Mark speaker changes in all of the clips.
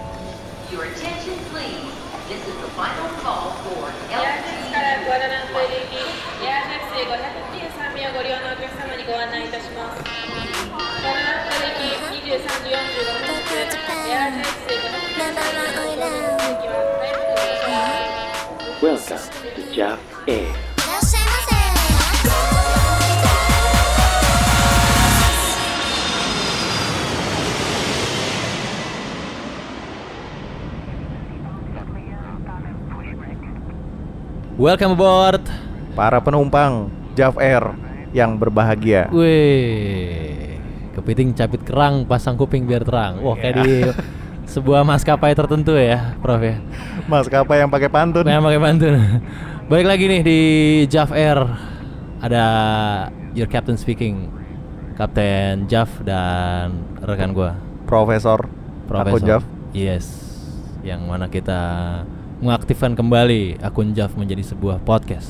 Speaker 1: uh, ご利用のお客様にご案内いたします。ご覧の駅23時45分発、エアースイカの駅は早くご利用ください。
Speaker 2: Welcome to Jap Air.
Speaker 3: いらっしゃいま
Speaker 4: Welcome aboard.
Speaker 5: Para penumpang Jav Air yang berbahagia.
Speaker 4: Wih, kepiting capit kerang pasang kuping biar terang. Wah kayak di sebuah maskapai tertentu ya, Prof ya.
Speaker 5: Mas Kapa yang pakai pantun.
Speaker 4: Yang pakai pantun. Balik lagi nih di Jav Air. Ada your captain speaking. Kapten Jav dan rekan gua,
Speaker 5: Profesor. Aku
Speaker 4: Profesor.
Speaker 5: Jav.
Speaker 4: Yes. Yang mana kita mengaktifkan kembali akun Jav menjadi sebuah podcast.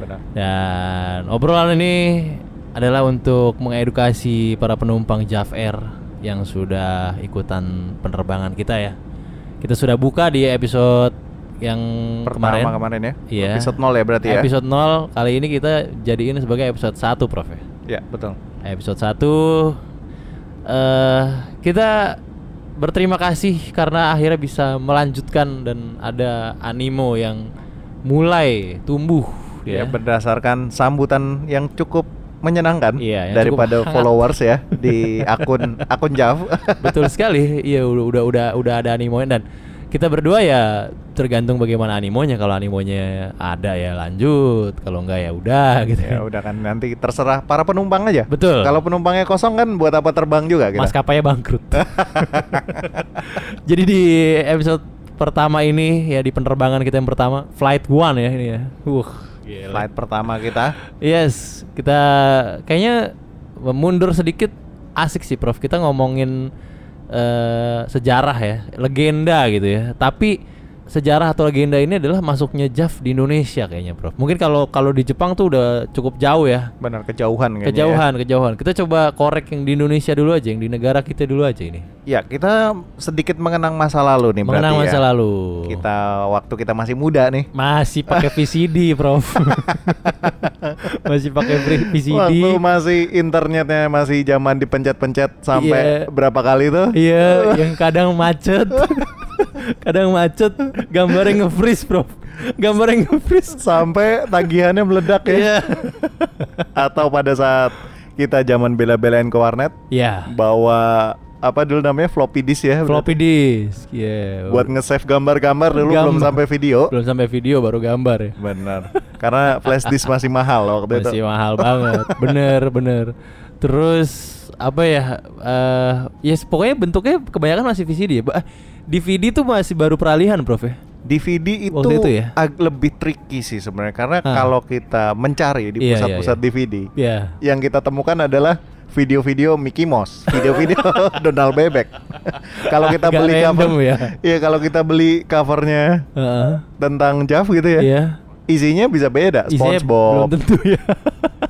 Speaker 5: Benar.
Speaker 4: Dan obrolan ini adalah untuk mengedukasi para penumpang JAF Air yang sudah ikutan penerbangan kita ya. Kita sudah buka di episode yang
Speaker 5: Pertama
Speaker 4: kemarin.
Speaker 5: kemarin, ya.
Speaker 4: Iya.
Speaker 5: Episode 0 ya berarti ya.
Speaker 4: Episode 0 kali ini kita jadiin sebagai episode 1, Prof ya.
Speaker 5: Ya, betul.
Speaker 4: Episode 1 eh kita berterima kasih karena akhirnya bisa melanjutkan dan ada animo yang mulai tumbuh
Speaker 5: Ya, berdasarkan sambutan yang cukup menyenangkan
Speaker 4: Iya, yang
Speaker 5: daripada
Speaker 4: cukup hangat.
Speaker 5: followers ya di akun akun Jav.
Speaker 4: Betul sekali. Iya udah udah udah udah ada animonya dan kita berdua ya tergantung bagaimana animonya. Kalau animonya ada ya lanjut, kalau enggak ya udah gitu.
Speaker 5: ya udah kan nanti terserah para penumpang aja.
Speaker 4: Betul.
Speaker 5: Kalau penumpangnya kosong kan buat apa terbang
Speaker 4: gitu.
Speaker 5: juga kita.
Speaker 4: Maskapainya bangkrut. Jadi di episode pertama ini ya di penerbangan kita yang pertama flight one ya ini ya. Wuh. gila.
Speaker 5: Flight pertama kita
Speaker 4: Yes, kita kayaknya mundur sedikit asik sih Prof. Kita ngomongin eh, sejarah ya, legenda gitu ya. Tapi sejarah atau legenda ini adalah masuknya JAF di Indonesia kayaknya Prof. Mungkin kalau kalau di Jepang tuh udah cukup jauh ya.
Speaker 5: benar kejauhan kayaknya. ya.
Speaker 4: Kejauhan, kejauhan. Kita coba korek yang di Indonesia dulu aja, yang di negara kita dulu aja ini.
Speaker 5: Ya, kita sedikit mengenang masa lalu nih
Speaker 4: Mengenang
Speaker 5: berarti
Speaker 4: masa
Speaker 5: ya.
Speaker 4: lalu.
Speaker 5: Kita waktu kita masih muda nih.
Speaker 4: masih pakai VCD, Prof. masih pakai VCD.
Speaker 5: Waktu masih internetnya masih zaman dipencet-pencet sampai
Speaker 4: Iya.
Speaker 5: berapa kali tuh?
Speaker 4: Iya, yang kadang macet. kadang macet, gambarnya nge-freeze, Bro. Gambarnya nge-freeze.
Speaker 5: Sampai tagihannya meledak ya.
Speaker 4: Iya.
Speaker 5: Atau pada saat kita zaman bela-belain ke warnet
Speaker 4: Ya.
Speaker 5: bawa apa dulu namanya floppy disk ya.
Speaker 4: Floppy disk. Iya.
Speaker 5: Buat nge-save gambar-gambar dulu belum
Speaker 4: Gambar.
Speaker 5: sampai video.
Speaker 4: belum sampai video baru gambar ya.
Speaker 5: Benar. Karena flash disk masih mahal waktu
Speaker 4: Masih
Speaker 5: itu.
Speaker 4: mahal banget. Bener, bener. Terus apa ya? Eh, ya pokoknya bentuknya kebanyakan masih VCD ya. Ba- DVD tuh masih baru peralihan, Prof ya.
Speaker 5: DVD itu,
Speaker 4: Waktu itu ya?
Speaker 5: ag- lebih tricky sih sebenarnya karena
Speaker 4: Ah.
Speaker 5: kalau kita mencari di
Speaker 4: Iya, iya,
Speaker 5: pusat-pusat
Speaker 4: iya.
Speaker 5: DVD
Speaker 4: Iya.
Speaker 5: yang kita temukan adalah video-video Mickey Mouse, video-video Donald Bebek. kalau kita
Speaker 4: Agak
Speaker 5: beli cover,
Speaker 4: random ya.
Speaker 5: iya kalau kita beli covernya
Speaker 4: Heeh.
Speaker 5: tentang Jav gitu ya,
Speaker 4: Iya.
Speaker 5: isinya bisa beda.
Speaker 4: Isinya Belum
Speaker 5: SpongeBob,
Speaker 4: tentu ya.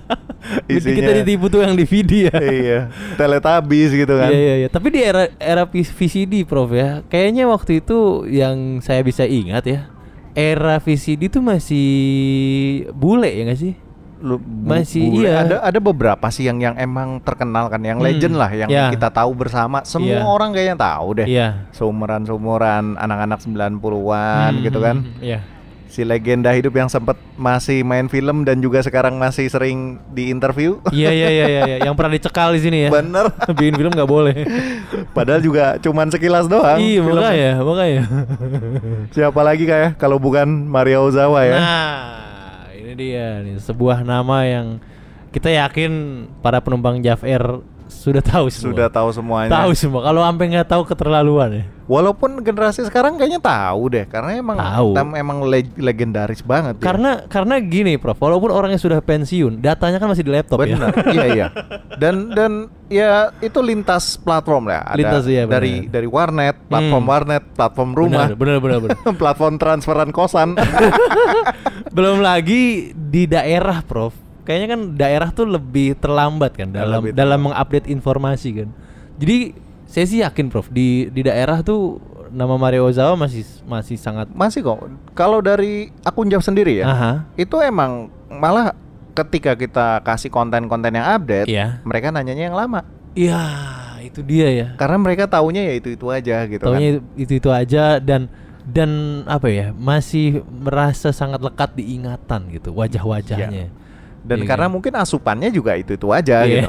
Speaker 4: Jadi kita
Speaker 5: Isinya-
Speaker 4: ditipu tuh yang DVD ya.
Speaker 5: iya, Teletubbies gitu kan.
Speaker 4: Iya iya iya. Tapi di era era P- VCD Prof ya, kayaknya waktu itu yang saya bisa ingat ya, era VCD tuh masih bule ya nggak sih?
Speaker 5: Lu- bu-
Speaker 4: Masih
Speaker 5: bule.
Speaker 4: iya.
Speaker 5: Ada ada beberapa sih yang yang emang terkenal kan, yang
Speaker 4: Hmm,
Speaker 5: legend lah, yang
Speaker 4: iya.
Speaker 5: kita tahu bersama. Semua
Speaker 4: Iya.
Speaker 5: orang kayaknya tahu deh.
Speaker 4: Iya.
Speaker 5: Seumuran-seumuran anak-anak 90-an gitu kan.
Speaker 4: Iya.
Speaker 5: Si legenda hidup yang sempat masih main film dan juga sekarang masih sering di interview.
Speaker 4: Iya iya iya iya, iya. yang pernah dicekal di sini ya.
Speaker 5: Bener.
Speaker 4: Bikin film nggak boleh.
Speaker 5: Padahal juga cuman sekilas doang.
Speaker 4: iya
Speaker 5: film.
Speaker 4: makanya makanya.
Speaker 5: Siapa lagi kayak kalau bukan Maria Ozawa ya?
Speaker 4: Nah ini dia nih sebuah nama yang kita yakin para penumpang JAF Air sudah tahu semua.
Speaker 5: Sudah tahu semuanya.
Speaker 4: tahu semua. Kalau sampai nggak tahu keterlaluan ya.
Speaker 5: Walaupun generasi sekarang kayaknya tahu deh karena emang
Speaker 4: Tahu.
Speaker 5: tem- emang le- legendaris banget ya.
Speaker 4: Karena karena gini, Prof. Walaupun orangnya sudah pensiun, datanya kan masih di laptop
Speaker 5: Benar,
Speaker 4: ya.
Speaker 5: iya iya. Dan dan ya itu lintas platform lah. Ada
Speaker 4: Lintas, iya, benar.
Speaker 5: dari dari warnet, platform
Speaker 4: Hmm.
Speaker 5: warnet, platform rumah,
Speaker 4: Benar, benar, benar.
Speaker 5: platform transferan kosan.
Speaker 4: Belum lagi di daerah, Prof. Kayaknya kan daerah tuh lebih terlambat kan dalam
Speaker 5: Lebih
Speaker 4: dalam mengupdate informasi kan. Jadi saya sih yakin, Prof. Di di daerah tuh nama Mario Ozawa masih masih sangat
Speaker 5: Masih kok. Kalau dari akun Jav sendiri ya,
Speaker 4: Aha.
Speaker 5: itu emang malah ketika kita kasih konten-konten yang update,
Speaker 4: Iya.
Speaker 5: mereka nanyanya yang lama.
Speaker 4: Iya, itu dia ya.
Speaker 5: Karena mereka taunya ya itu-itu aja gitu kan.
Speaker 4: Taunya itu itu aja dan dan apa ya masih merasa sangat lekat di ingatan gitu wajah-wajahnya.
Speaker 5: Dan
Speaker 4: Iya
Speaker 5: karena
Speaker 4: kan?
Speaker 5: mungkin asupannya juga itu-itu aja gitu.
Speaker 4: Iya.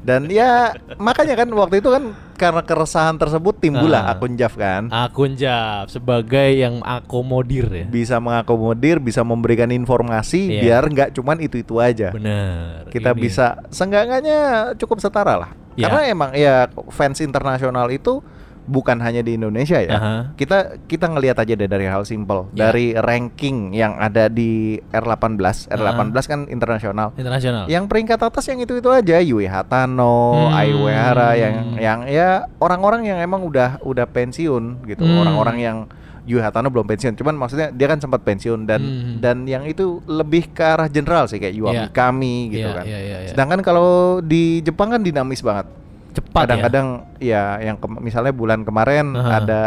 Speaker 5: Dan ya makanya kan waktu itu kan karena keresahan tersebut timbulah
Speaker 4: Ah.
Speaker 5: akun Jav kan.
Speaker 4: akun Jab sebagai yang akomodir ya.
Speaker 5: Bisa mengakomodir, bisa memberikan informasi
Speaker 4: Iya.
Speaker 5: biar nggak cuman itu-itu aja.
Speaker 4: Bener.
Speaker 5: kita
Speaker 4: ini.
Speaker 5: bisa seenggak-enggaknya cukup setara lah.
Speaker 4: Ya.
Speaker 5: Karena emang ya fans internasional itu bukan hanya di Indonesia ya.
Speaker 4: Aha.
Speaker 5: Kita kita ngelihat aja deh dari hal simple,
Speaker 4: Ya.
Speaker 5: dari ranking yang ada di R18. R18 kan internasional.
Speaker 4: internasional.
Speaker 5: Yang peringkat atas yang itu-itu aja, Yui Hatano,
Speaker 4: Ah. Hmm.
Speaker 5: Ai Uehara yang yang ya orang-orang yang emang udah udah pensiun gitu.
Speaker 4: Hmm.
Speaker 5: Orang-orang yang Yui Hatano belum pensiun, cuman maksudnya dia kan sempat pensiun dan
Speaker 4: Hmm.
Speaker 5: dan yang itu lebih ke arah general sih kayak Yuami
Speaker 4: Iya.
Speaker 5: Kami gitu
Speaker 4: Iya,
Speaker 5: kan.
Speaker 4: iya, iya, iya.
Speaker 5: Sedangkan kalau di Jepang kan dinamis banget.
Speaker 4: cepat ya.
Speaker 5: Kadang-kadang ya, yang ke- misalnya bulan kemarin
Speaker 4: Aha.
Speaker 5: ada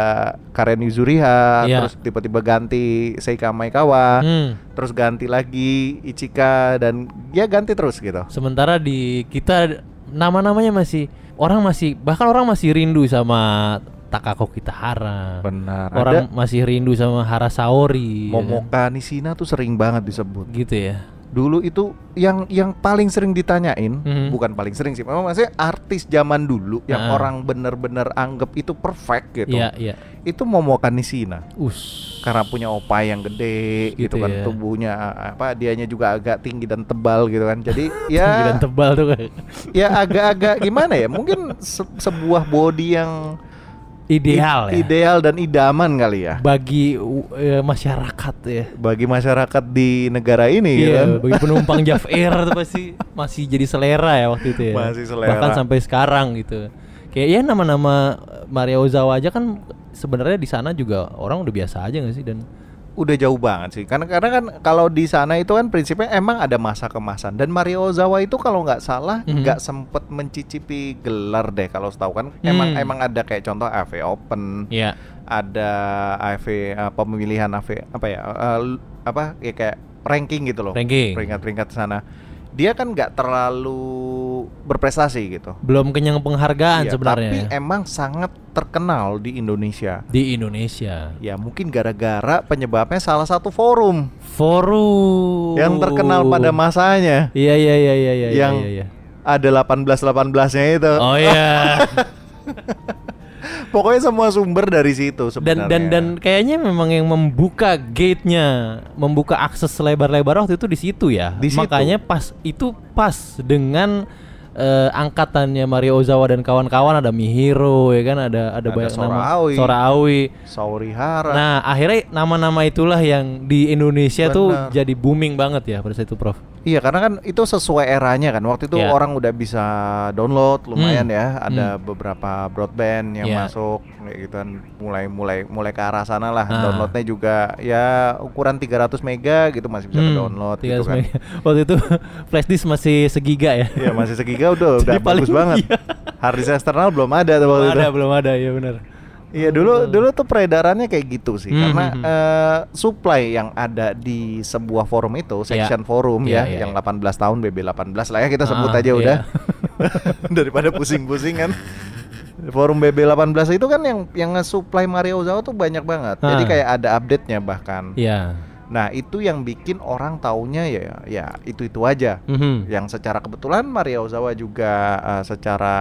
Speaker 5: Karen Yuzuriha,
Speaker 4: Iya.
Speaker 5: terus tiba-tiba ganti Seika Maekawa
Speaker 4: Hmm.
Speaker 5: terus ganti lagi Ichika dan dia ganti terus gitu.
Speaker 4: Sementara di kita nama-namanya masih orang masih bahkan orang masih rindu sama Takako Kitahara.
Speaker 5: Benar.
Speaker 4: Orang
Speaker 5: Ada
Speaker 4: masih rindu sama Harasaori. ya kan?
Speaker 5: Momoka Nishina tuh sering banget disebut.
Speaker 4: Gitu ya.
Speaker 5: Dulu itu yang yang paling sering ditanyain,
Speaker 4: Mhm.
Speaker 5: bukan paling sering sih, memang maksudnya artis zaman dulu yang
Speaker 4: Ah.
Speaker 5: orang bener-bener anggap itu perfect gitu.
Speaker 4: Iya, iya.
Speaker 5: Itu Momoka Nishina.
Speaker 4: Us.
Speaker 5: Karena punya opa yang gede gitu,
Speaker 4: Gitu
Speaker 5: kan,
Speaker 4: ya.
Speaker 5: tubuhnya apa dianya juga agak tinggi dan tebal gitu kan. Jadi
Speaker 4: Tinggi
Speaker 5: ya
Speaker 4: dan tebal tuh kan.
Speaker 5: ya agak-agak gimana ya? Mungkin se- sebuah body yang
Speaker 4: Ideal ya.
Speaker 5: I- Ideal dan idaman kali ya
Speaker 4: Bagi u- eh, masyarakat ya.
Speaker 5: bagi masyarakat di negara ini
Speaker 4: Iya,
Speaker 5: kan.
Speaker 4: bagi penumpang Jav Air itu pasti masih jadi selera ya waktu itu ya.
Speaker 5: Masih selera.
Speaker 4: Bahkan sampai sekarang gitu. Kayak ya nama-nama Mario Ozawa aja kan sebenarnya di sana juga orang udah biasa aja gak sih dan
Speaker 5: Udah jauh banget sih. Karena karena kan kalau di sana itu kan prinsipnya emang ada masa kemasan dan Mario Ozawa itu kalau nggak salah
Speaker 4: Mhm.
Speaker 5: nggak sempet mencicipi gelar deh kalau setahu kan emang
Speaker 4: Hmm.
Speaker 5: emang ada kayak contoh AV Open,
Speaker 4: Iya.
Speaker 5: ada AV eh, pemilihan AV apa ya? eh, l- apa ya kayak ranking gitu loh.
Speaker 4: Ranking.
Speaker 5: Peringkat-peringkat sana. Dia kan nggak terlalu berprestasi gitu.
Speaker 4: Belum kenyang penghargaan
Speaker 5: Iya,
Speaker 4: sebenarnya
Speaker 5: Tapi
Speaker 4: ya,
Speaker 5: emang sangat terkenal di Indonesia.
Speaker 4: di Indonesia.
Speaker 5: Ya mungkin gara-gara penyebabnya salah satu forum
Speaker 4: Forum
Speaker 5: yang terkenal pada masanya.
Speaker 4: Iya iya iya iya iya
Speaker 5: yang
Speaker 4: iya, iya.
Speaker 5: ada 18-18-nya itu.
Speaker 4: Oh iya.
Speaker 5: Pokoknya semua sumber dari situ
Speaker 4: dan
Speaker 5: sebenarnya.
Speaker 4: dan dan kayaknya memang yang membuka gate-nya, membuka akses lebar-lebar waktu itu di situ ya.
Speaker 5: Di situ.
Speaker 4: Makanya pas itu pas dengan eh, angkatannya Mario Ozawa dan kawan-kawan ada Mihiro ya kan ada ada,
Speaker 5: Ada
Speaker 4: banyak nama
Speaker 5: Sora Aoi.
Speaker 4: Sora Aoi.
Speaker 5: Saurihara.
Speaker 4: Nah, akhirnya nama-nama itulah yang di Indonesia tuh
Speaker 5: Benar.
Speaker 4: jadi booming banget ya pada saat itu, Prof.
Speaker 5: Iya karena kan itu sesuai eranya kan. Waktu itu
Speaker 4: Iya.
Speaker 5: orang udah bisa download lumayan
Speaker 4: Hmm.
Speaker 5: ya. Ada beberapa broadband yang
Speaker 4: Iya.
Speaker 5: masuk kayak gitu kan. Mulai mulai mulai ke arah sana lah.
Speaker 4: Ah.
Speaker 5: Downloadnya juga ya ukuran 300 mega gitu masih bisa
Speaker 4: Hmm,
Speaker 5: download gitu
Speaker 4: 300
Speaker 5: kan.
Speaker 4: mega. Waktu itu flash disk masih segiga ya.
Speaker 5: Iya masih segiga udah udah
Speaker 4: Jadi paling-
Speaker 5: bagus banget.
Speaker 4: iya.
Speaker 5: Harddisk eksternal belum ada tuh waktu
Speaker 4: belum ada,
Speaker 5: itu.
Speaker 4: belum ada, ya benar.
Speaker 5: Iya dulu dulu tuh peredarannya kayak gitu sih
Speaker 4: Hmm,
Speaker 5: karena
Speaker 4: hmm,
Speaker 5: eh, supply yang ada di sebuah forum itu section forum ya
Speaker 4: Iya, iya,
Speaker 5: yang
Speaker 4: iya.
Speaker 5: 18 tahun BB 18 lah ya kita sebut
Speaker 4: Ah,
Speaker 5: aja
Speaker 4: iya.
Speaker 5: udah daripada pusing-pusing kan. Forum BB 18 itu kan yang yang nge-supply Mario Ozawa tuh banyak banget. Jadi
Speaker 4: Ah.
Speaker 5: kayak ada update-nya bahkan.
Speaker 4: Iya.
Speaker 5: Nah, itu yang bikin orang taunya ya ya itu-itu aja
Speaker 4: Mhm.
Speaker 5: yang secara kebetulan Maria Ozawa juga eh, secara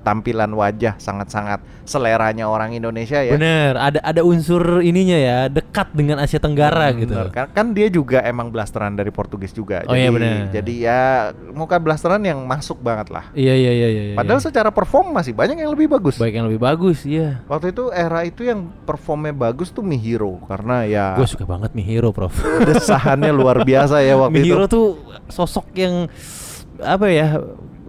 Speaker 5: tampilan wajah sangat-sangat seleranya orang Indonesia ya.
Speaker 4: Bener, ada ada unsur ininya ya, dekat dengan Asia Tenggara gitu.
Speaker 5: Bener, Kan, kan dia juga emang blasteran dari Portugis juga.
Speaker 4: Oh,
Speaker 5: jadi,
Speaker 4: iya, bener.
Speaker 5: jadi ya muka blasteran yang masuk banget lah.
Speaker 4: Iya iya iya iya. iya.
Speaker 5: Padahal secara perform masih banyak yang lebih bagus.
Speaker 4: baik yang lebih bagus, iya.
Speaker 5: Waktu itu era itu yang performnya bagus tuh Mihiro karena ya
Speaker 4: Gue suka banget Mihiro, Prof.
Speaker 5: desahannya luar biasa ya waktu
Speaker 4: Mihiro
Speaker 5: itu.
Speaker 4: tuh sosok yang apa ya?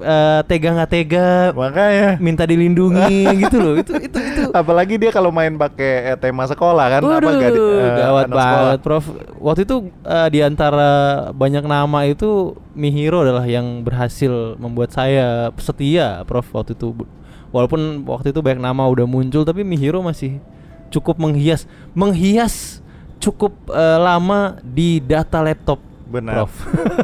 Speaker 4: eh, tega nggak tega,
Speaker 5: Makanya
Speaker 4: minta dilindungi gitu loh. Itu itu itu.
Speaker 5: apalagi dia kalau main pakai eh, tema sekolah kan apa
Speaker 4: Waduh,
Speaker 5: gadi- eh,
Speaker 4: gawat
Speaker 5: anak sekolah.
Speaker 4: banget, Prof. Waktu itu eh, di antara banyak nama itu Mihiro adalah yang berhasil membuat saya setia, Prof. Waktu itu Bu- walaupun waktu itu banyak nama udah muncul, tapi Mihiro masih cukup menghias, menghias cukup eh, lama di data laptop
Speaker 5: Benar.
Speaker 4: Prof.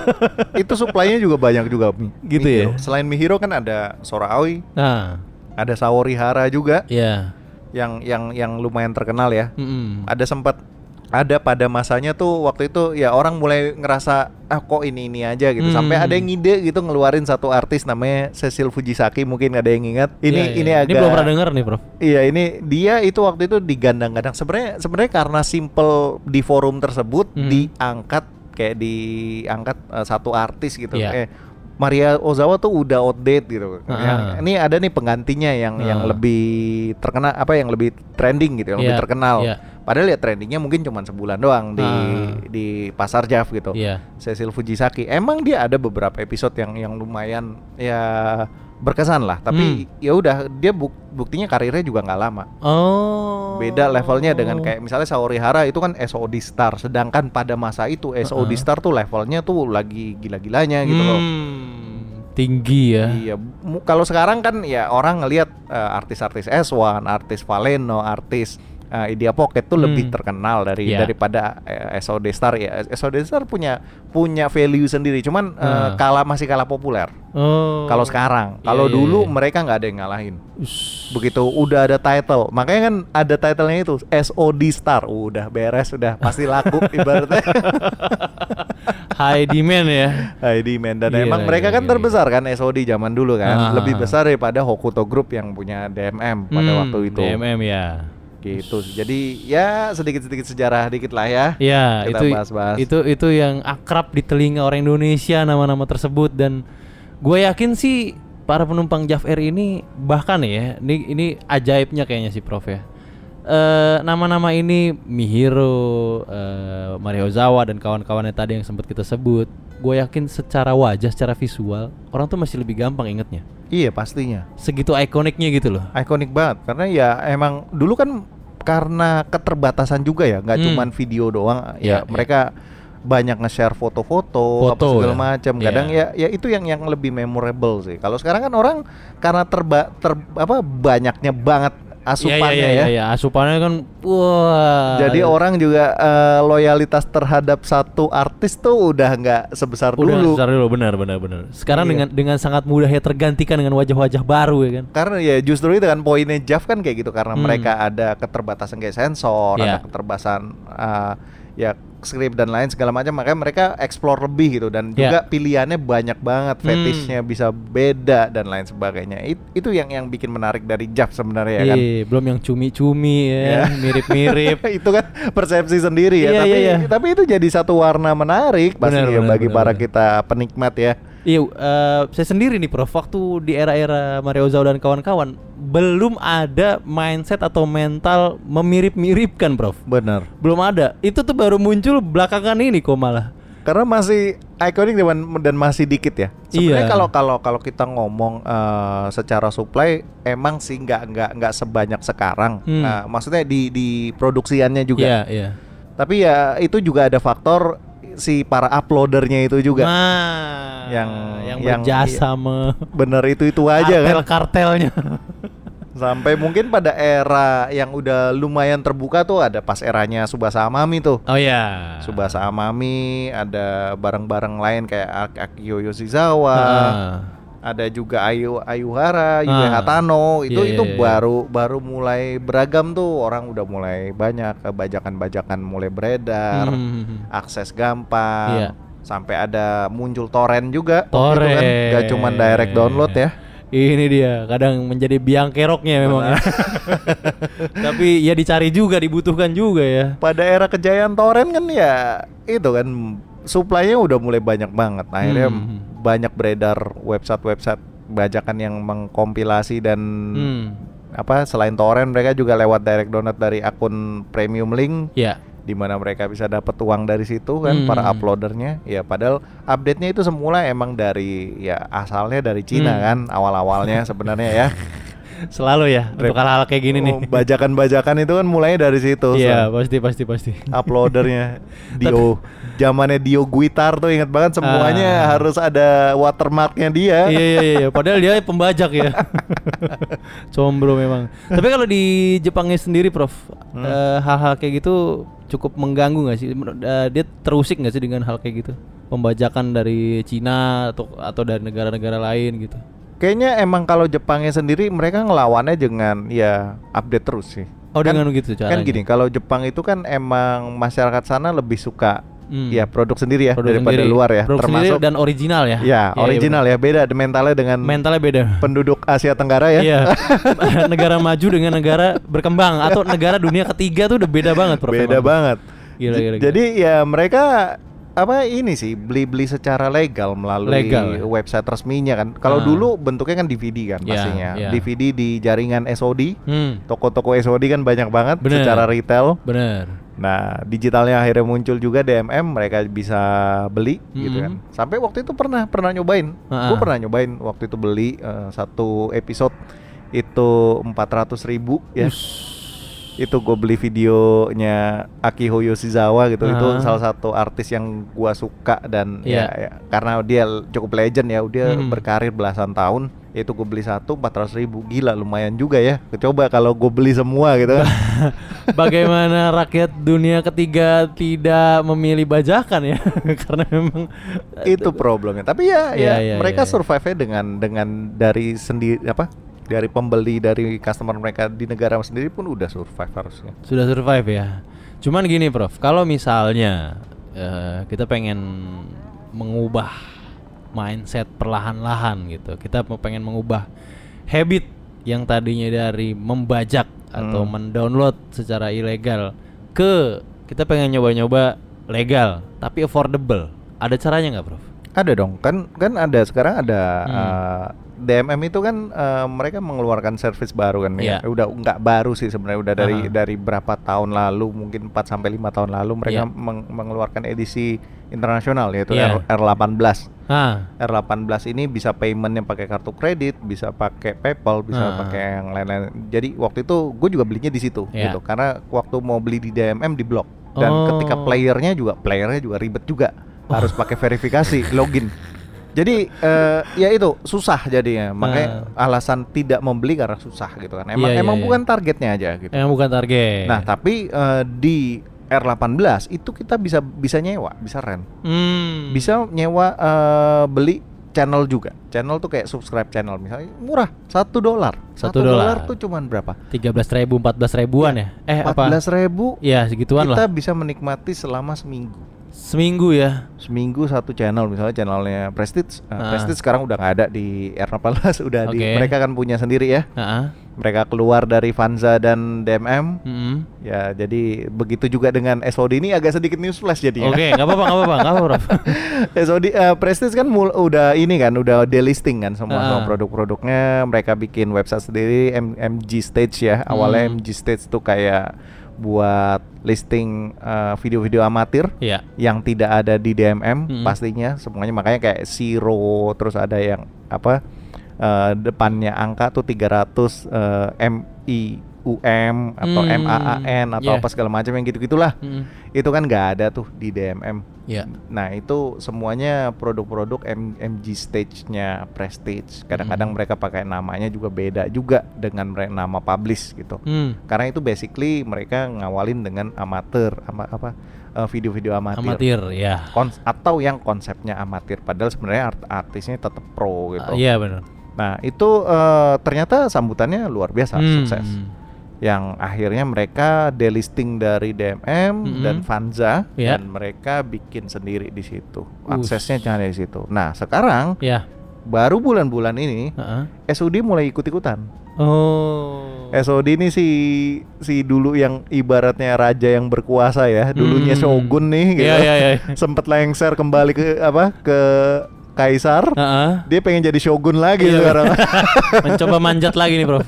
Speaker 5: Itu supply-nya juga banyak juga. Mi-
Speaker 4: Gitu
Speaker 5: Mihiro.
Speaker 4: ya?
Speaker 5: Selain Mihiro kan ada Sora Aoi,
Speaker 4: nah,
Speaker 5: ada Saorihara juga
Speaker 4: ya.
Speaker 5: yang yang yang lumayan terkenal ya.
Speaker 4: Mm-mm.
Speaker 5: Ada sempat ada pada masanya tuh waktu itu ya orang mulai ngerasa ah kok ini ini aja gitu sampai
Speaker 4: Hmm.
Speaker 5: ada yang ngide gitu ngeluarin satu artis namanya Cecil Fujisaki mungkin ada yang ingat ini
Speaker 4: Iya, iya.
Speaker 5: ini agak
Speaker 4: Ini belum pernah denger nih, Prof.
Speaker 5: Iya ini dia itu waktu itu digandang-gandang sebenarnya sebenarnya karena simple di forum tersebut
Speaker 4: Hmm.
Speaker 5: diangkat kayak diangkat eh, satu artis gitu.
Speaker 4: Iya.
Speaker 5: Eh, Maria Ozawa tuh udah outdated gitu. Yang-
Speaker 4: Ah.
Speaker 5: ini ada nih penggantinya yang yang
Speaker 4: Ah.
Speaker 5: lebih terkena apa yang lebih trending gitu, yang lebih
Speaker 4: Iya,
Speaker 5: terkenal.
Speaker 4: iya.
Speaker 5: Padahal ya trendingnya mungkin cuma sebulan doang di
Speaker 4: Ah.
Speaker 5: di pasar Jav gitu.
Speaker 4: Iya.
Speaker 5: Cecil Fujisaki. Emang dia ada beberapa episode yang yang lumayan ya berkesan lah,
Speaker 4: Hmm.
Speaker 5: tapi ya udah dia buk- buktinya karirnya juga nggak lama.
Speaker 4: Oh.
Speaker 5: Beda levelnya dengan kayak misalnya Saorihara itu kan SOD Star, sedangkan pada masa itu SOD
Speaker 4: Uh-uh.
Speaker 5: Star tuh levelnya tuh lagi gila-gilanya gitu loh.
Speaker 4: Hmm, Tinggi ya.
Speaker 5: Iya, mu- kalau sekarang kan ya orang ngelihat eh, artis-artis S1, artis Valeno, artis eh, Idea Pocket tuh lebih
Speaker 4: Hmm.
Speaker 5: terkenal dari
Speaker 4: Iya.
Speaker 5: daripada eh, SOD Star ya. SOD Star punya punya value sendiri, cuman eh,
Speaker 4: Ah.
Speaker 5: kalah masih kalah populer.
Speaker 4: Oh.
Speaker 5: Kalau sekarang,
Speaker 4: Iya,
Speaker 5: kalau
Speaker 4: iya,
Speaker 5: dulu
Speaker 4: iya.
Speaker 5: mereka nggak ada yang ngalahin.
Speaker 4: Ush.
Speaker 5: Begitu udah ada title, makanya kan ada titlenya itu SOD Star, udah beres, udah pasti laku ibaratnya.
Speaker 4: high demand ya.
Speaker 5: ID Man dan
Speaker 4: Gila,
Speaker 5: emang mereka
Speaker 4: gila,
Speaker 5: kan
Speaker 4: gila.
Speaker 5: terbesar kan SOD zaman dulu kan
Speaker 4: iya, Ah.
Speaker 5: lebih besar daripada Hokuto Group yang punya DMM pada
Speaker 4: Hmm,
Speaker 5: waktu itu
Speaker 4: DMM ya.
Speaker 5: gitu jadi ya sedikit-sedikit sejarah dikit lah ya
Speaker 4: Ya,
Speaker 5: Kita
Speaker 4: itu
Speaker 5: bahas-bahas.
Speaker 4: itu itu yang akrab di telinga orang Indonesia nama-nama tersebut dan gue yakin sih para penumpang JAF Air ini bahkan ya, ini ini ajaibnya kayaknya sih Prof ya. Eh, nama-nama ini Mihiro, eh, Mario Zawa dan kawan-kawannya tadi yang sempat kita sebut, gue yakin secara wajah, secara visual orang tuh masih lebih gampang ingetnya.
Speaker 5: iya pastinya
Speaker 4: Segitu ikoniknya gitu loh.
Speaker 5: ikonik banget karena ya emang dulu kan karena keterbatasan juga ya nggak
Speaker 4: Hmm.
Speaker 5: cuman video doang ya,
Speaker 4: Ya,
Speaker 5: mereka banyak nge-share foto-foto apa
Speaker 4: Foto
Speaker 5: segala
Speaker 4: ya.
Speaker 5: macam
Speaker 4: Iya.
Speaker 5: kadang ya ya itu yang yang lebih memorable sih kalau sekarang kan orang karena terba ter apa banyaknya banget asupannya
Speaker 4: Iya, iya,
Speaker 5: ya
Speaker 4: iya, iya, asupannya kan wah. iya.
Speaker 5: Jadi orang juga eh, loyalitas terhadap satu artis tuh udah nggak sebesar
Speaker 4: Udah
Speaker 5: dulu.
Speaker 4: besar dulu benar benar benar. Sekarang
Speaker 5: Iya.
Speaker 4: dengan dengan sangat mudah ya tergantikan dengan wajah-wajah baru ya kan.
Speaker 5: Karena ya justru itu kan poinnya Jav kan kayak gitu karena
Speaker 4: Hmm.
Speaker 5: mereka ada keterbatasan kayak sensor, ada
Speaker 4: Iya.
Speaker 5: keterbatasan eh, ya skrip dan lain segala macam makanya mereka explore lebih gitu dan
Speaker 4: Iya.
Speaker 5: juga pilihannya banyak banget
Speaker 4: Hmm.
Speaker 5: fetishnya bisa beda dan lain sebagainya It- itu yang yang bikin menarik dari Jav sebenarnya ya kan
Speaker 4: Iya, belum yang cumi-cumi
Speaker 5: Iya.
Speaker 4: ya, mirip-mirip.
Speaker 5: itu kan persepsi sendiri ya
Speaker 4: Iya,
Speaker 5: tapi
Speaker 4: iya, iya.
Speaker 5: tapi itu jadi satu warna menarik pasti ya
Speaker 4: Benar, benar,
Speaker 5: bagi
Speaker 4: benar,
Speaker 5: para
Speaker 4: benar.
Speaker 5: kita penikmat ya
Speaker 4: Iya, eh, saya sendiri nih Prof, waktu di era-era Mario Zau dan kawan-kawan belum ada mindset atau mental memirip-miripkan Prof.
Speaker 5: benar
Speaker 4: Belum ada. Itu tuh baru muncul belakangan ini kok malah.
Speaker 5: karena masih ikonik dan, dan masih dikit ya sebenarnya
Speaker 4: Iya.
Speaker 5: kalau kalau kalau kita ngomong eh, secara supply emang sih nggak nggak nggak sebanyak sekarang
Speaker 4: Hmm.
Speaker 5: Nah, maksudnya di di produksiannya juga
Speaker 4: Iya, iya.
Speaker 5: tapi ya itu juga ada faktor si para uploadernya itu juga
Speaker 4: Nah,
Speaker 5: Yang-
Speaker 4: yang
Speaker 5: yang-
Speaker 4: berjasa me-
Speaker 5: bener itu itu aja kan
Speaker 4: kartel-kartelnya.
Speaker 5: sampai mungkin pada era yang udah lumayan terbuka tuh ada pas eranya Subasa Amami tuh
Speaker 4: Oh ya.
Speaker 5: Subasa Amami ada barang-barang lain kayak Ak- Akio Yoshizawa
Speaker 4: Ah.
Speaker 5: ada juga Ayu Ayuhara, Yue
Speaker 4: Ah.
Speaker 5: Hatano itu
Speaker 4: Iya,
Speaker 5: itu
Speaker 4: iya, iya.
Speaker 5: baru baru mulai beragam tuh orang udah mulai banyak eh, bajakan-bajakan mulai beredar,
Speaker 4: Hmm.
Speaker 5: akses gampang.
Speaker 4: Iya.
Speaker 5: Sampai ada muncul torrent juga. Waktu itu
Speaker 4: Torrent.
Speaker 5: gak cuman direct download ya.
Speaker 4: Ini dia, kadang menjadi biang keroknya memang. ya. Tapi ya dicari juga, dibutuhkan juga ya.
Speaker 5: Pada era kejayaan torrent kan ya itu kan supply-nya udah mulai banyak banget. Nah, Akhirnya
Speaker 4: Hmm.
Speaker 5: banyak beredar website-website bajakan yang mengkompilasi dan
Speaker 4: Hmm.
Speaker 5: apa selain torrent mereka juga lewat direct download dari akun premium link
Speaker 4: Ya.
Speaker 5: di mana mereka bisa dapat uang dari situ kan
Speaker 4: Hmm.
Speaker 5: para uploadernya ya padahal update-nya itu semula emang dari ya asalnya dari Cina
Speaker 4: Hmm.
Speaker 5: kan awal-awalnya sebenarnya ya
Speaker 4: Selalu ya untuk hal-hal kayak gini nih.
Speaker 5: Oh, bajakan-bajakan itu kan mulainya dari situ
Speaker 4: Iya,
Speaker 5: Son.
Speaker 4: pasti pasti pasti.
Speaker 5: uploadernya Dio zamannya Dio Guitar tuh ingat banget semuanya
Speaker 4: Ah.
Speaker 5: harus ada watermarknya dia
Speaker 4: iya iya iya, iya. padahal dia pembajak ya. Combro memang. Tapi kalau di Jepangnya sendiri, Prof,
Speaker 5: Hmm.
Speaker 4: eh, hal-hal kayak gitu cukup mengganggu nggak sih? Men- eh, dia terusik nggak sih dengan hal kayak gitu? pembajakan dari Cina atau atau dari negara-negara lain gitu.
Speaker 5: Kayaknya emang kalau Jepangnya sendiri mereka ngelawannya dengan ya update terus sih.
Speaker 4: Oh
Speaker 5: Kan-
Speaker 4: dengan begitu
Speaker 5: Kan
Speaker 4: caranya.
Speaker 5: gini, kalau Jepang itu kan emang masyarakat sana lebih suka
Speaker 4: Hmm.
Speaker 5: ya produk sendiri ya
Speaker 4: Produk
Speaker 5: daripada
Speaker 4: sendiri.
Speaker 5: luar ya,
Speaker 4: Produk sendiri
Speaker 5: termasuk
Speaker 4: dan original ya.
Speaker 5: ya original ya, beda ada mentalnya dengan
Speaker 4: Mentalnya beda.
Speaker 5: penduduk Asia Tenggara ya.
Speaker 4: Iya. negara maju dengan negara berkembang atau negara dunia ketiga tuh udah beda banget Prof.
Speaker 5: Beda
Speaker 4: Emang.
Speaker 5: banget.
Speaker 4: Gila,
Speaker 5: J-
Speaker 4: gila, gila.
Speaker 5: Jadi ya mereka apa ini sih beli-beli secara legal melalui
Speaker 4: Legal, ya?
Speaker 5: website resminya kan. Kalau
Speaker 4: Ah.
Speaker 5: dulu bentuknya kan DVD kan
Speaker 4: Ya,
Speaker 5: pastinya.
Speaker 4: ya.
Speaker 5: DVD di jaringan SOD.
Speaker 4: Hmm.
Speaker 5: Toko-toko SOD kan banyak banget
Speaker 4: Bener.
Speaker 5: secara retail.
Speaker 4: Bener.
Speaker 5: Nah, digitalnya akhirnya muncul juga DMM, mereka bisa beli gitu kan.
Speaker 4: Mm-mm.
Speaker 5: Sampai waktu itu pernah pernah nyobain.
Speaker 4: Ha-ha.
Speaker 5: Gue pernah nyobain waktu itu beli eh, satu episode itu 400.000 ribu ya itu gue beli videonya Akiho Yoshizawa gitu itu
Speaker 4: Ah.
Speaker 5: salah satu artis yang gua suka dan
Speaker 4: Iya.
Speaker 5: ya, ya, karena dia l- cukup legend ya dia
Speaker 4: Mm.
Speaker 5: berkarir belasan tahun itu gue beli satu 400.000 ribu gila lumayan juga ya coba kalau gue beli semua gitu kan
Speaker 4: Bagaimana rakyat dunia ketiga tidak memilih bajakan ya? Karena memang
Speaker 5: itu problemnya tapi ya
Speaker 4: Iya,
Speaker 5: ya,
Speaker 4: iya,
Speaker 5: mereka
Speaker 4: iya.
Speaker 5: survive nya dengan dengan dari sendiri apa dari pembeli dari customer mereka di negara sendiri pun udah survive harusnya
Speaker 4: Sudah survive ya. Cuman gini, Prof. Kalau misalnya eh, kita pengen mengubah mindset perlahan-lahan gitu. Kita mau pengen mengubah habit yang tadinya dari membajak atau mendownload secara ilegal ke kita pengen nyoba-nyoba legal tapi affordable. Ada caranya nggak, Prof?
Speaker 5: Ada dong, kan kan ada sekarang ada
Speaker 4: Hmm.
Speaker 5: eh, DMM itu kan eh, mereka mengeluarkan service baru kan ya.
Speaker 4: Iya.
Speaker 5: Udah nggak baru sih sebenarnya udah dari
Speaker 4: Aha.
Speaker 5: dari berapa tahun lalu mungkin 4 sampai 5 tahun lalu mereka
Speaker 4: Iya.
Speaker 5: meng- mengeluarkan edisi internasional yaitu
Speaker 4: Iya.
Speaker 5: R- R18.
Speaker 4: Ah,
Speaker 5: R18 ini bisa payment yang pakai kartu kredit, bisa pakai PayPal, bisa
Speaker 4: Ah.
Speaker 5: pakai yang lain-lain. Jadi waktu itu gue juga belinya di situ
Speaker 4: Iya.
Speaker 5: gitu karena waktu mau beli di DMM di blok dan
Speaker 4: Oh.
Speaker 5: ketika playernya juga playernya juga ribet juga harus pakai verifikasi login. Jadi eh, ya itu susah jadinya. Makanya alasan tidak membeli karena susah gitu kan. Emang
Speaker 4: Ah. Iya, iya,
Speaker 5: emang
Speaker 4: iya. Eh.
Speaker 5: bukan targetnya aja gitu.
Speaker 4: yang bukan target.
Speaker 5: Nah, tapi eh, di R18 itu kita bisa bisa nyewa, bisa rent
Speaker 4: Hmm.
Speaker 5: bisa nyewa eh, beli channel juga channel tuh kayak subscribe channel misalnya murah satu dolar
Speaker 4: Satu dolar.
Speaker 5: tuh cuman berapa
Speaker 4: 13.000 14.000-an ya? Eh
Speaker 5: empat
Speaker 4: apa?
Speaker 5: ribu
Speaker 4: Ya, segituan
Speaker 5: kita
Speaker 4: lah.
Speaker 5: bisa menikmati selama seminggu
Speaker 4: Seminggu ya.
Speaker 5: seminggu satu channel misalnya channelnya Prestige Eh,
Speaker 4: Ah.
Speaker 5: Prestige sekarang udah nggak ada di R18 udah di
Speaker 4: Oke.
Speaker 5: mereka kan punya sendiri ya
Speaker 4: Heeh.
Speaker 5: mereka keluar dari Vanza dan DMM
Speaker 4: Mm-mm.
Speaker 5: ya jadi begitu juga dengan SOD ini agak sedikit newsflash jadinya
Speaker 4: Iya. Oke, nggak apa-apa, nggak apa-apa, nggak apa-apa. Prof.
Speaker 5: Saudi eh, Prestige kan mul- udah ini kan udah delisting kan semua
Speaker 4: Ah.
Speaker 5: semua produk-produknya mereka bikin website sendiri M- MG Stage ya
Speaker 4: Hmm.
Speaker 5: awalnya MG Stage tuh kayak buat listing eh, video-video amatir
Speaker 4: Iya. Hmm.
Speaker 5: yang tidak ada di DMM
Speaker 4: Mm-mm.
Speaker 5: pastinya semuanya makanya kayak Zero terus ada yang apa eh, depannya angka tuh 300 eh, MIUM atau
Speaker 4: Hmm,
Speaker 5: MAAN atau
Speaker 4: yeah.
Speaker 5: apa segala macam yang gitu-gitulah
Speaker 4: Mm-mm.
Speaker 5: itu kan nggak ada tuh di DMM
Speaker 4: Iya.
Speaker 5: Nah itu semuanya produk-produk M- MG stage-nya Prestige. Kadang-kadang
Speaker 4: Hmm.
Speaker 5: mereka pakai namanya juga beda juga dengan mere- nama publish gitu.
Speaker 4: Hmm.
Speaker 5: Karena itu basically mereka ngawalin dengan amatir, ama- apa eh, video-video amatir,
Speaker 4: Amatir, ya.
Speaker 5: Kons- atau yang konsepnya amatir. Padahal sebenarnya art- artisnya tetap pro gitu.
Speaker 4: Iya benar.
Speaker 5: Nah itu eh, ternyata sambutannya luar biasa,
Speaker 4: Hmm.
Speaker 5: sukses. Yang akhirnya mereka delisting dari DMM
Speaker 4: Mm-mm.
Speaker 5: dan Vanza
Speaker 4: Iya.
Speaker 5: dan mereka bikin sendiri di situ.
Speaker 4: Us.
Speaker 5: Aksesnya cuma dari situ. Nah, sekarang
Speaker 4: Ya.
Speaker 5: baru bulan-bulan ini
Speaker 4: Heeh.
Speaker 5: SOD mulai ikut-ikutan.
Speaker 4: Oh.
Speaker 5: SOD ini si si dulu yang ibaratnya raja yang berkuasa ya, dulunya
Speaker 4: Hmm.
Speaker 5: shogun nih gitu.
Speaker 4: Iya, iya, iya.
Speaker 5: Sempet lengser kembali ke apa? ke kaisar.
Speaker 4: Heeh.
Speaker 5: Dia pengen jadi shogun lagi
Speaker 4: Iya.
Speaker 5: sekarang.
Speaker 4: Mencoba manjat lagi nih, Prof.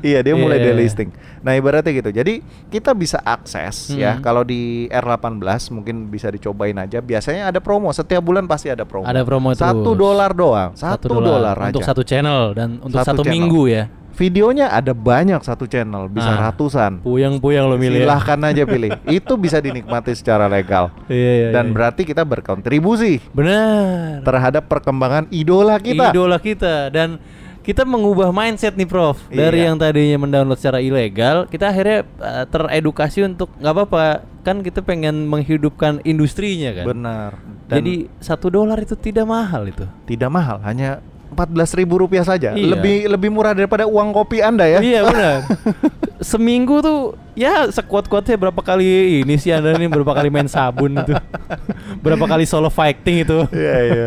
Speaker 5: iya dia mulai
Speaker 4: Iya, iya, iya.
Speaker 5: delisting. Nah ibaratnya gitu. Jadi kita bisa akses ya
Speaker 4: Hmm.
Speaker 5: kalau di R18 mungkin bisa dicobain aja. Biasanya ada promo. Setiap bulan pasti ada promo.
Speaker 4: Ada promo
Speaker 5: Satu
Speaker 4: terus.
Speaker 5: dolar doang.
Speaker 4: Satu
Speaker 5: Satu dolar aja.
Speaker 4: untuk satu channel dan untuk
Speaker 5: Satu
Speaker 4: satu,
Speaker 5: channel.
Speaker 4: minggu ya.
Speaker 5: Videonya ada banyak satu channel bisa
Speaker 4: Ah.
Speaker 5: ratusan.
Speaker 4: Puyang-puyang lo milih. ya.
Speaker 5: Silahkan aja pilih. Itu bisa dinikmati secara legal.
Speaker 4: Iya, iya.
Speaker 5: Dan
Speaker 4: iya.
Speaker 5: berarti kita berkontribusi
Speaker 4: benar.
Speaker 5: terhadap perkembangan idola kita.
Speaker 4: Idola kita dan kita mengubah mindset nih Prof dari
Speaker 5: Iya.
Speaker 4: yang tadinya mendownload secara ilegal kita akhirnya eh, teredukasi untuk nggak apa-apa kan kita pengen menghidupkan industrinya kan
Speaker 5: Benar. Dan
Speaker 4: jadi satu dolar itu tidak mahal itu
Speaker 5: tidak mahal, hanya 14.000 rupiah saja.
Speaker 4: Iya.
Speaker 5: Lebih lebih murah daripada uang kopi Anda ya.
Speaker 4: iya benar seminggu tuh ya sekuat kuatnya berapa kali ini sih anda nih berapa kali main sabun itu berapa kali solo fighting itu
Speaker 5: Iya, iya.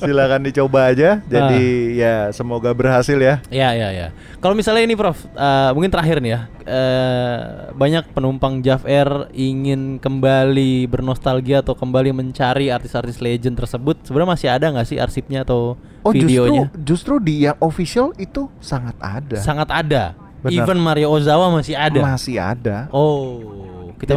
Speaker 5: Silakan dicoba aja. Jadi
Speaker 4: Ah.
Speaker 5: ya semoga berhasil ya.
Speaker 4: Ya ya ya. Kalau misalnya ini Prof, eh, mungkin terakhir nih ya. Eh, banyak penumpang Jav Air ingin kembali bernostalgia atau kembali mencari artis-artis legend tersebut. Sebenarnya masih ada nggak sih arsipnya atau
Speaker 5: Oh,
Speaker 4: videonya?
Speaker 5: justru justru di yang official itu sangat ada.
Speaker 4: Sangat ada.
Speaker 5: Benar.
Speaker 4: Even Mario Ozawa masih ada.
Speaker 5: Masih ada.
Speaker 4: Oh, kita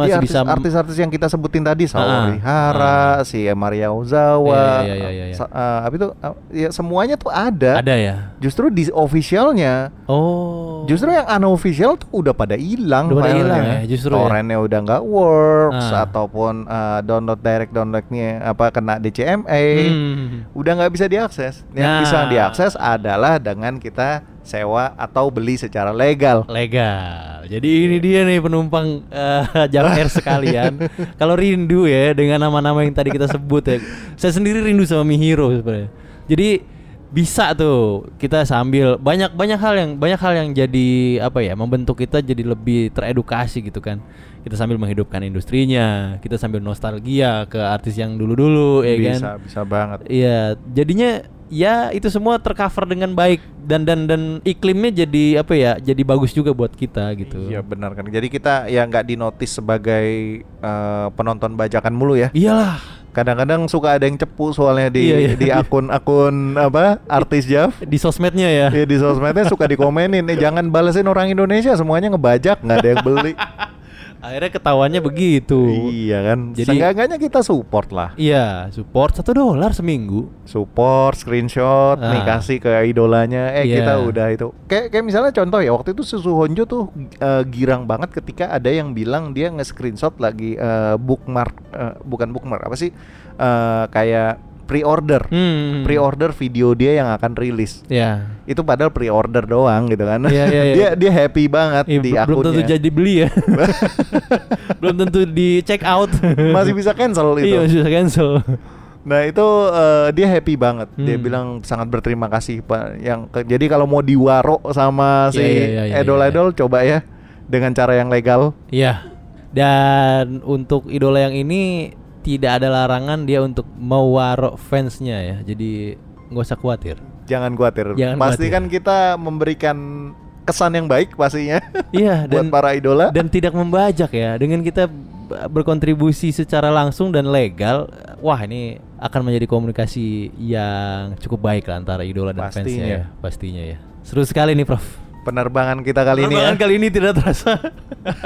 Speaker 5: Jadi
Speaker 4: masih
Speaker 5: artis,
Speaker 4: bisa m-
Speaker 5: artis-artis yang kita sebutin tadi
Speaker 4: Ah,
Speaker 5: Saori Hara, si Maria Ozawa,
Speaker 4: Iya, iya, iya, iya.
Speaker 5: sa- eh, apa itu eh, ya semuanya tuh ada.
Speaker 4: ada ya.
Speaker 5: Justru di officialnya
Speaker 4: Oh.
Speaker 5: Justru yang unofficial tuh udah pada hilang
Speaker 4: Udah pada
Speaker 5: filenya.
Speaker 4: hilang ya, justru ya.
Speaker 5: Torrentnya udah nggak works
Speaker 4: Ah.
Speaker 5: ataupun eh, download direct downloadnya apa kena DCMA
Speaker 4: Hmm.
Speaker 5: udah nggak bisa diakses. Yang
Speaker 4: Nah.
Speaker 5: bisa diakses adalah dengan kita sewa atau beli secara legal.
Speaker 4: Legal. Jadi ini dia nih penumpang eh, Jawa Air sekalian. Kalau rindu ya dengan nama-nama yang tadi kita sebut ya. Saya sendiri rindu sama Mihiro sebenarnya. Jadi bisa tuh kita sambil banyak banyak hal yang banyak hal yang jadi apa ya membentuk kita jadi lebih teredukasi gitu kan kita sambil menghidupkan industrinya kita sambil nostalgia ke artis yang dulu-dulu ya kan
Speaker 5: bisa bisa banget.
Speaker 4: Iya, jadinya ya itu semua tercover dengan baik dan dan dan iklimnya jadi apa ya? Jadi bagus juga buat kita gitu.
Speaker 5: Iya benar kan. Jadi kita ya nggak dinotis sebagai eh, penonton bajakan mulu ya.
Speaker 4: Iyalah.
Speaker 5: Kadang-kadang suka ada yang cepu soalnya di
Speaker 4: Iya, iya.
Speaker 5: di akun-akun apa artis Jav.
Speaker 4: Di sosmednya ya.
Speaker 5: Iya di sosmednya suka dikomenin eh jangan balesin orang Indonesia semuanya ngebajak nggak ada yang beli.
Speaker 4: Akhirnya ketahuannya begitu.
Speaker 5: iya kan. Jadi
Speaker 4: Jadi-
Speaker 5: enggaknya kita support lah.
Speaker 4: Iya, support satu dolar seminggu.
Speaker 5: Support screenshot nih
Speaker 4: Ah.
Speaker 5: kasih ke idolanya. Eh
Speaker 4: Iya.
Speaker 5: kita udah itu. Kayak kayak misalnya contoh ya waktu itu Susu Honjo tuh eh, girang banget ketika ada yang bilang dia nge-screenshot lagi eh, bookmark eh, bukan bookmark apa sih Eh, kayak pre-order.
Speaker 4: Hmm.
Speaker 5: Pre-order video dia yang akan rilis.
Speaker 4: Ya.
Speaker 5: itu padahal pre-order doang gitu kan.
Speaker 4: Iya, iya, iya.
Speaker 5: dia dia happy banget
Speaker 4: Iya,
Speaker 5: di
Speaker 4: bel- belum tentu
Speaker 5: akunnya.
Speaker 4: jadi beli ya. belum tentu di check out.
Speaker 5: Masih bisa cancel
Speaker 4: Iya,
Speaker 5: itu.
Speaker 4: masih bisa cancel.
Speaker 5: Nah, itu eh, dia happy banget. Dia
Speaker 4: Hmm.
Speaker 5: bilang sangat berterima kasih Pak yang ke- jadi kalau mau diwaro sama si
Speaker 4: Iya, iya, iya, iya,
Speaker 5: idol-idol coba ya dengan cara yang legal.
Speaker 4: Iya. Dan untuk idola yang ini tidak ada larangan dia untuk mewarok fansnya ya. Jadi nggak usah khawatir.
Speaker 5: Jangan khawatir.
Speaker 4: Jangan
Speaker 5: pasti
Speaker 4: khawatir.
Speaker 5: kan kita memberikan kesan yang baik pastinya
Speaker 4: Iya
Speaker 5: buat
Speaker 4: dan
Speaker 5: para idola.
Speaker 4: dan tidak membajak ya. Dengan kita b- berkontribusi secara langsung dan legal, wah ini akan menjadi komunikasi yang cukup baik lah antara idola dan fansnya
Speaker 5: Pastinya.
Speaker 4: ya, pastinya ya. Seru sekali nih Prof.
Speaker 5: Penerbangan kita kali ini ya.
Speaker 4: Penerbangan kali ini tidak terasa.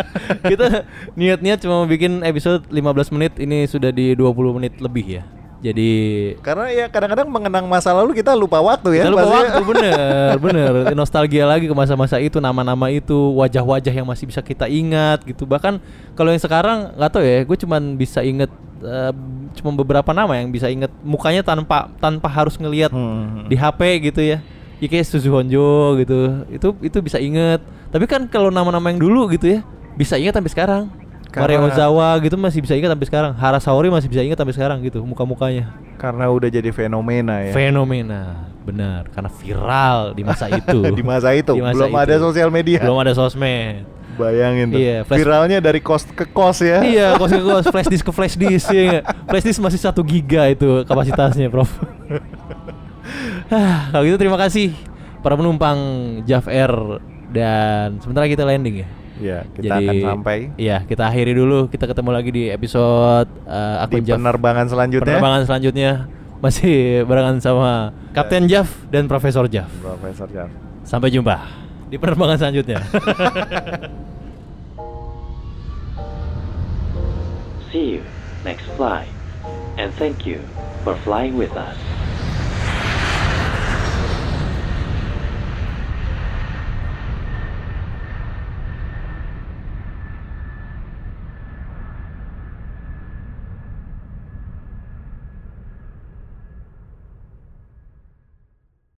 Speaker 4: kita niatnya cuma mau bikin episode 15 menit, ini sudah di 20 menit lebih ya. Jadi
Speaker 5: Karena ya kadang-kadang mengenang masa lalu kita lupa waktu ya.
Speaker 4: kita lupa
Speaker 5: pasti.
Speaker 4: waktu bener bener nostalgia lagi ke masa-masa itu nama-nama itu wajah-wajah yang masih bisa kita ingat gitu bahkan kalau yang sekarang nggak tahu ya gue cuman bisa inget eh, cuma beberapa nama yang bisa inget mukanya tanpa tanpa harus ngelihat
Speaker 5: Hmm.
Speaker 4: di HP gitu ya ya kayak Suzu Honjo gitu itu itu bisa inget tapi kan kalau nama-nama yang dulu gitu ya bisa inget sampai sekarang
Speaker 5: Karena-
Speaker 4: Mario Ozawa gitu masih bisa ingat sampai sekarang Hara Saori masih bisa ingat sampai sekarang gitu muka-mukanya
Speaker 5: Karena udah jadi fenomena ya.
Speaker 4: fenomena benar karena viral di masa itu
Speaker 5: di masa itu
Speaker 4: Di masa
Speaker 5: belum
Speaker 4: itu.
Speaker 5: ada sosial media
Speaker 4: belum ada sosmed
Speaker 5: bayangin tuh
Speaker 4: Iya, flash-
Speaker 5: viralnya dari kos ke kos ya
Speaker 4: iya kos ke kos flash disk ke flash disk ya nggak? flash disk masih satu giga itu kapasitasnya prof Hah, kalau gitu terima kasih para penumpang Jav Air dan sebentar lagi kita landing ya
Speaker 5: Iya, kita akan sampai
Speaker 4: Iya, kita akhiri dulu. Kita ketemu lagi di episode eh,
Speaker 5: di
Speaker 4: akun Jav.
Speaker 5: penerbangan selanjutnya
Speaker 4: Penerbangan selanjutnya masih barengan sama Kapten Jav dan Profesor Jav.
Speaker 5: Profesor Jan
Speaker 4: Sampai jumpa di penerbangan selanjutnya.
Speaker 2: See you next flight, and thank you for flying with us.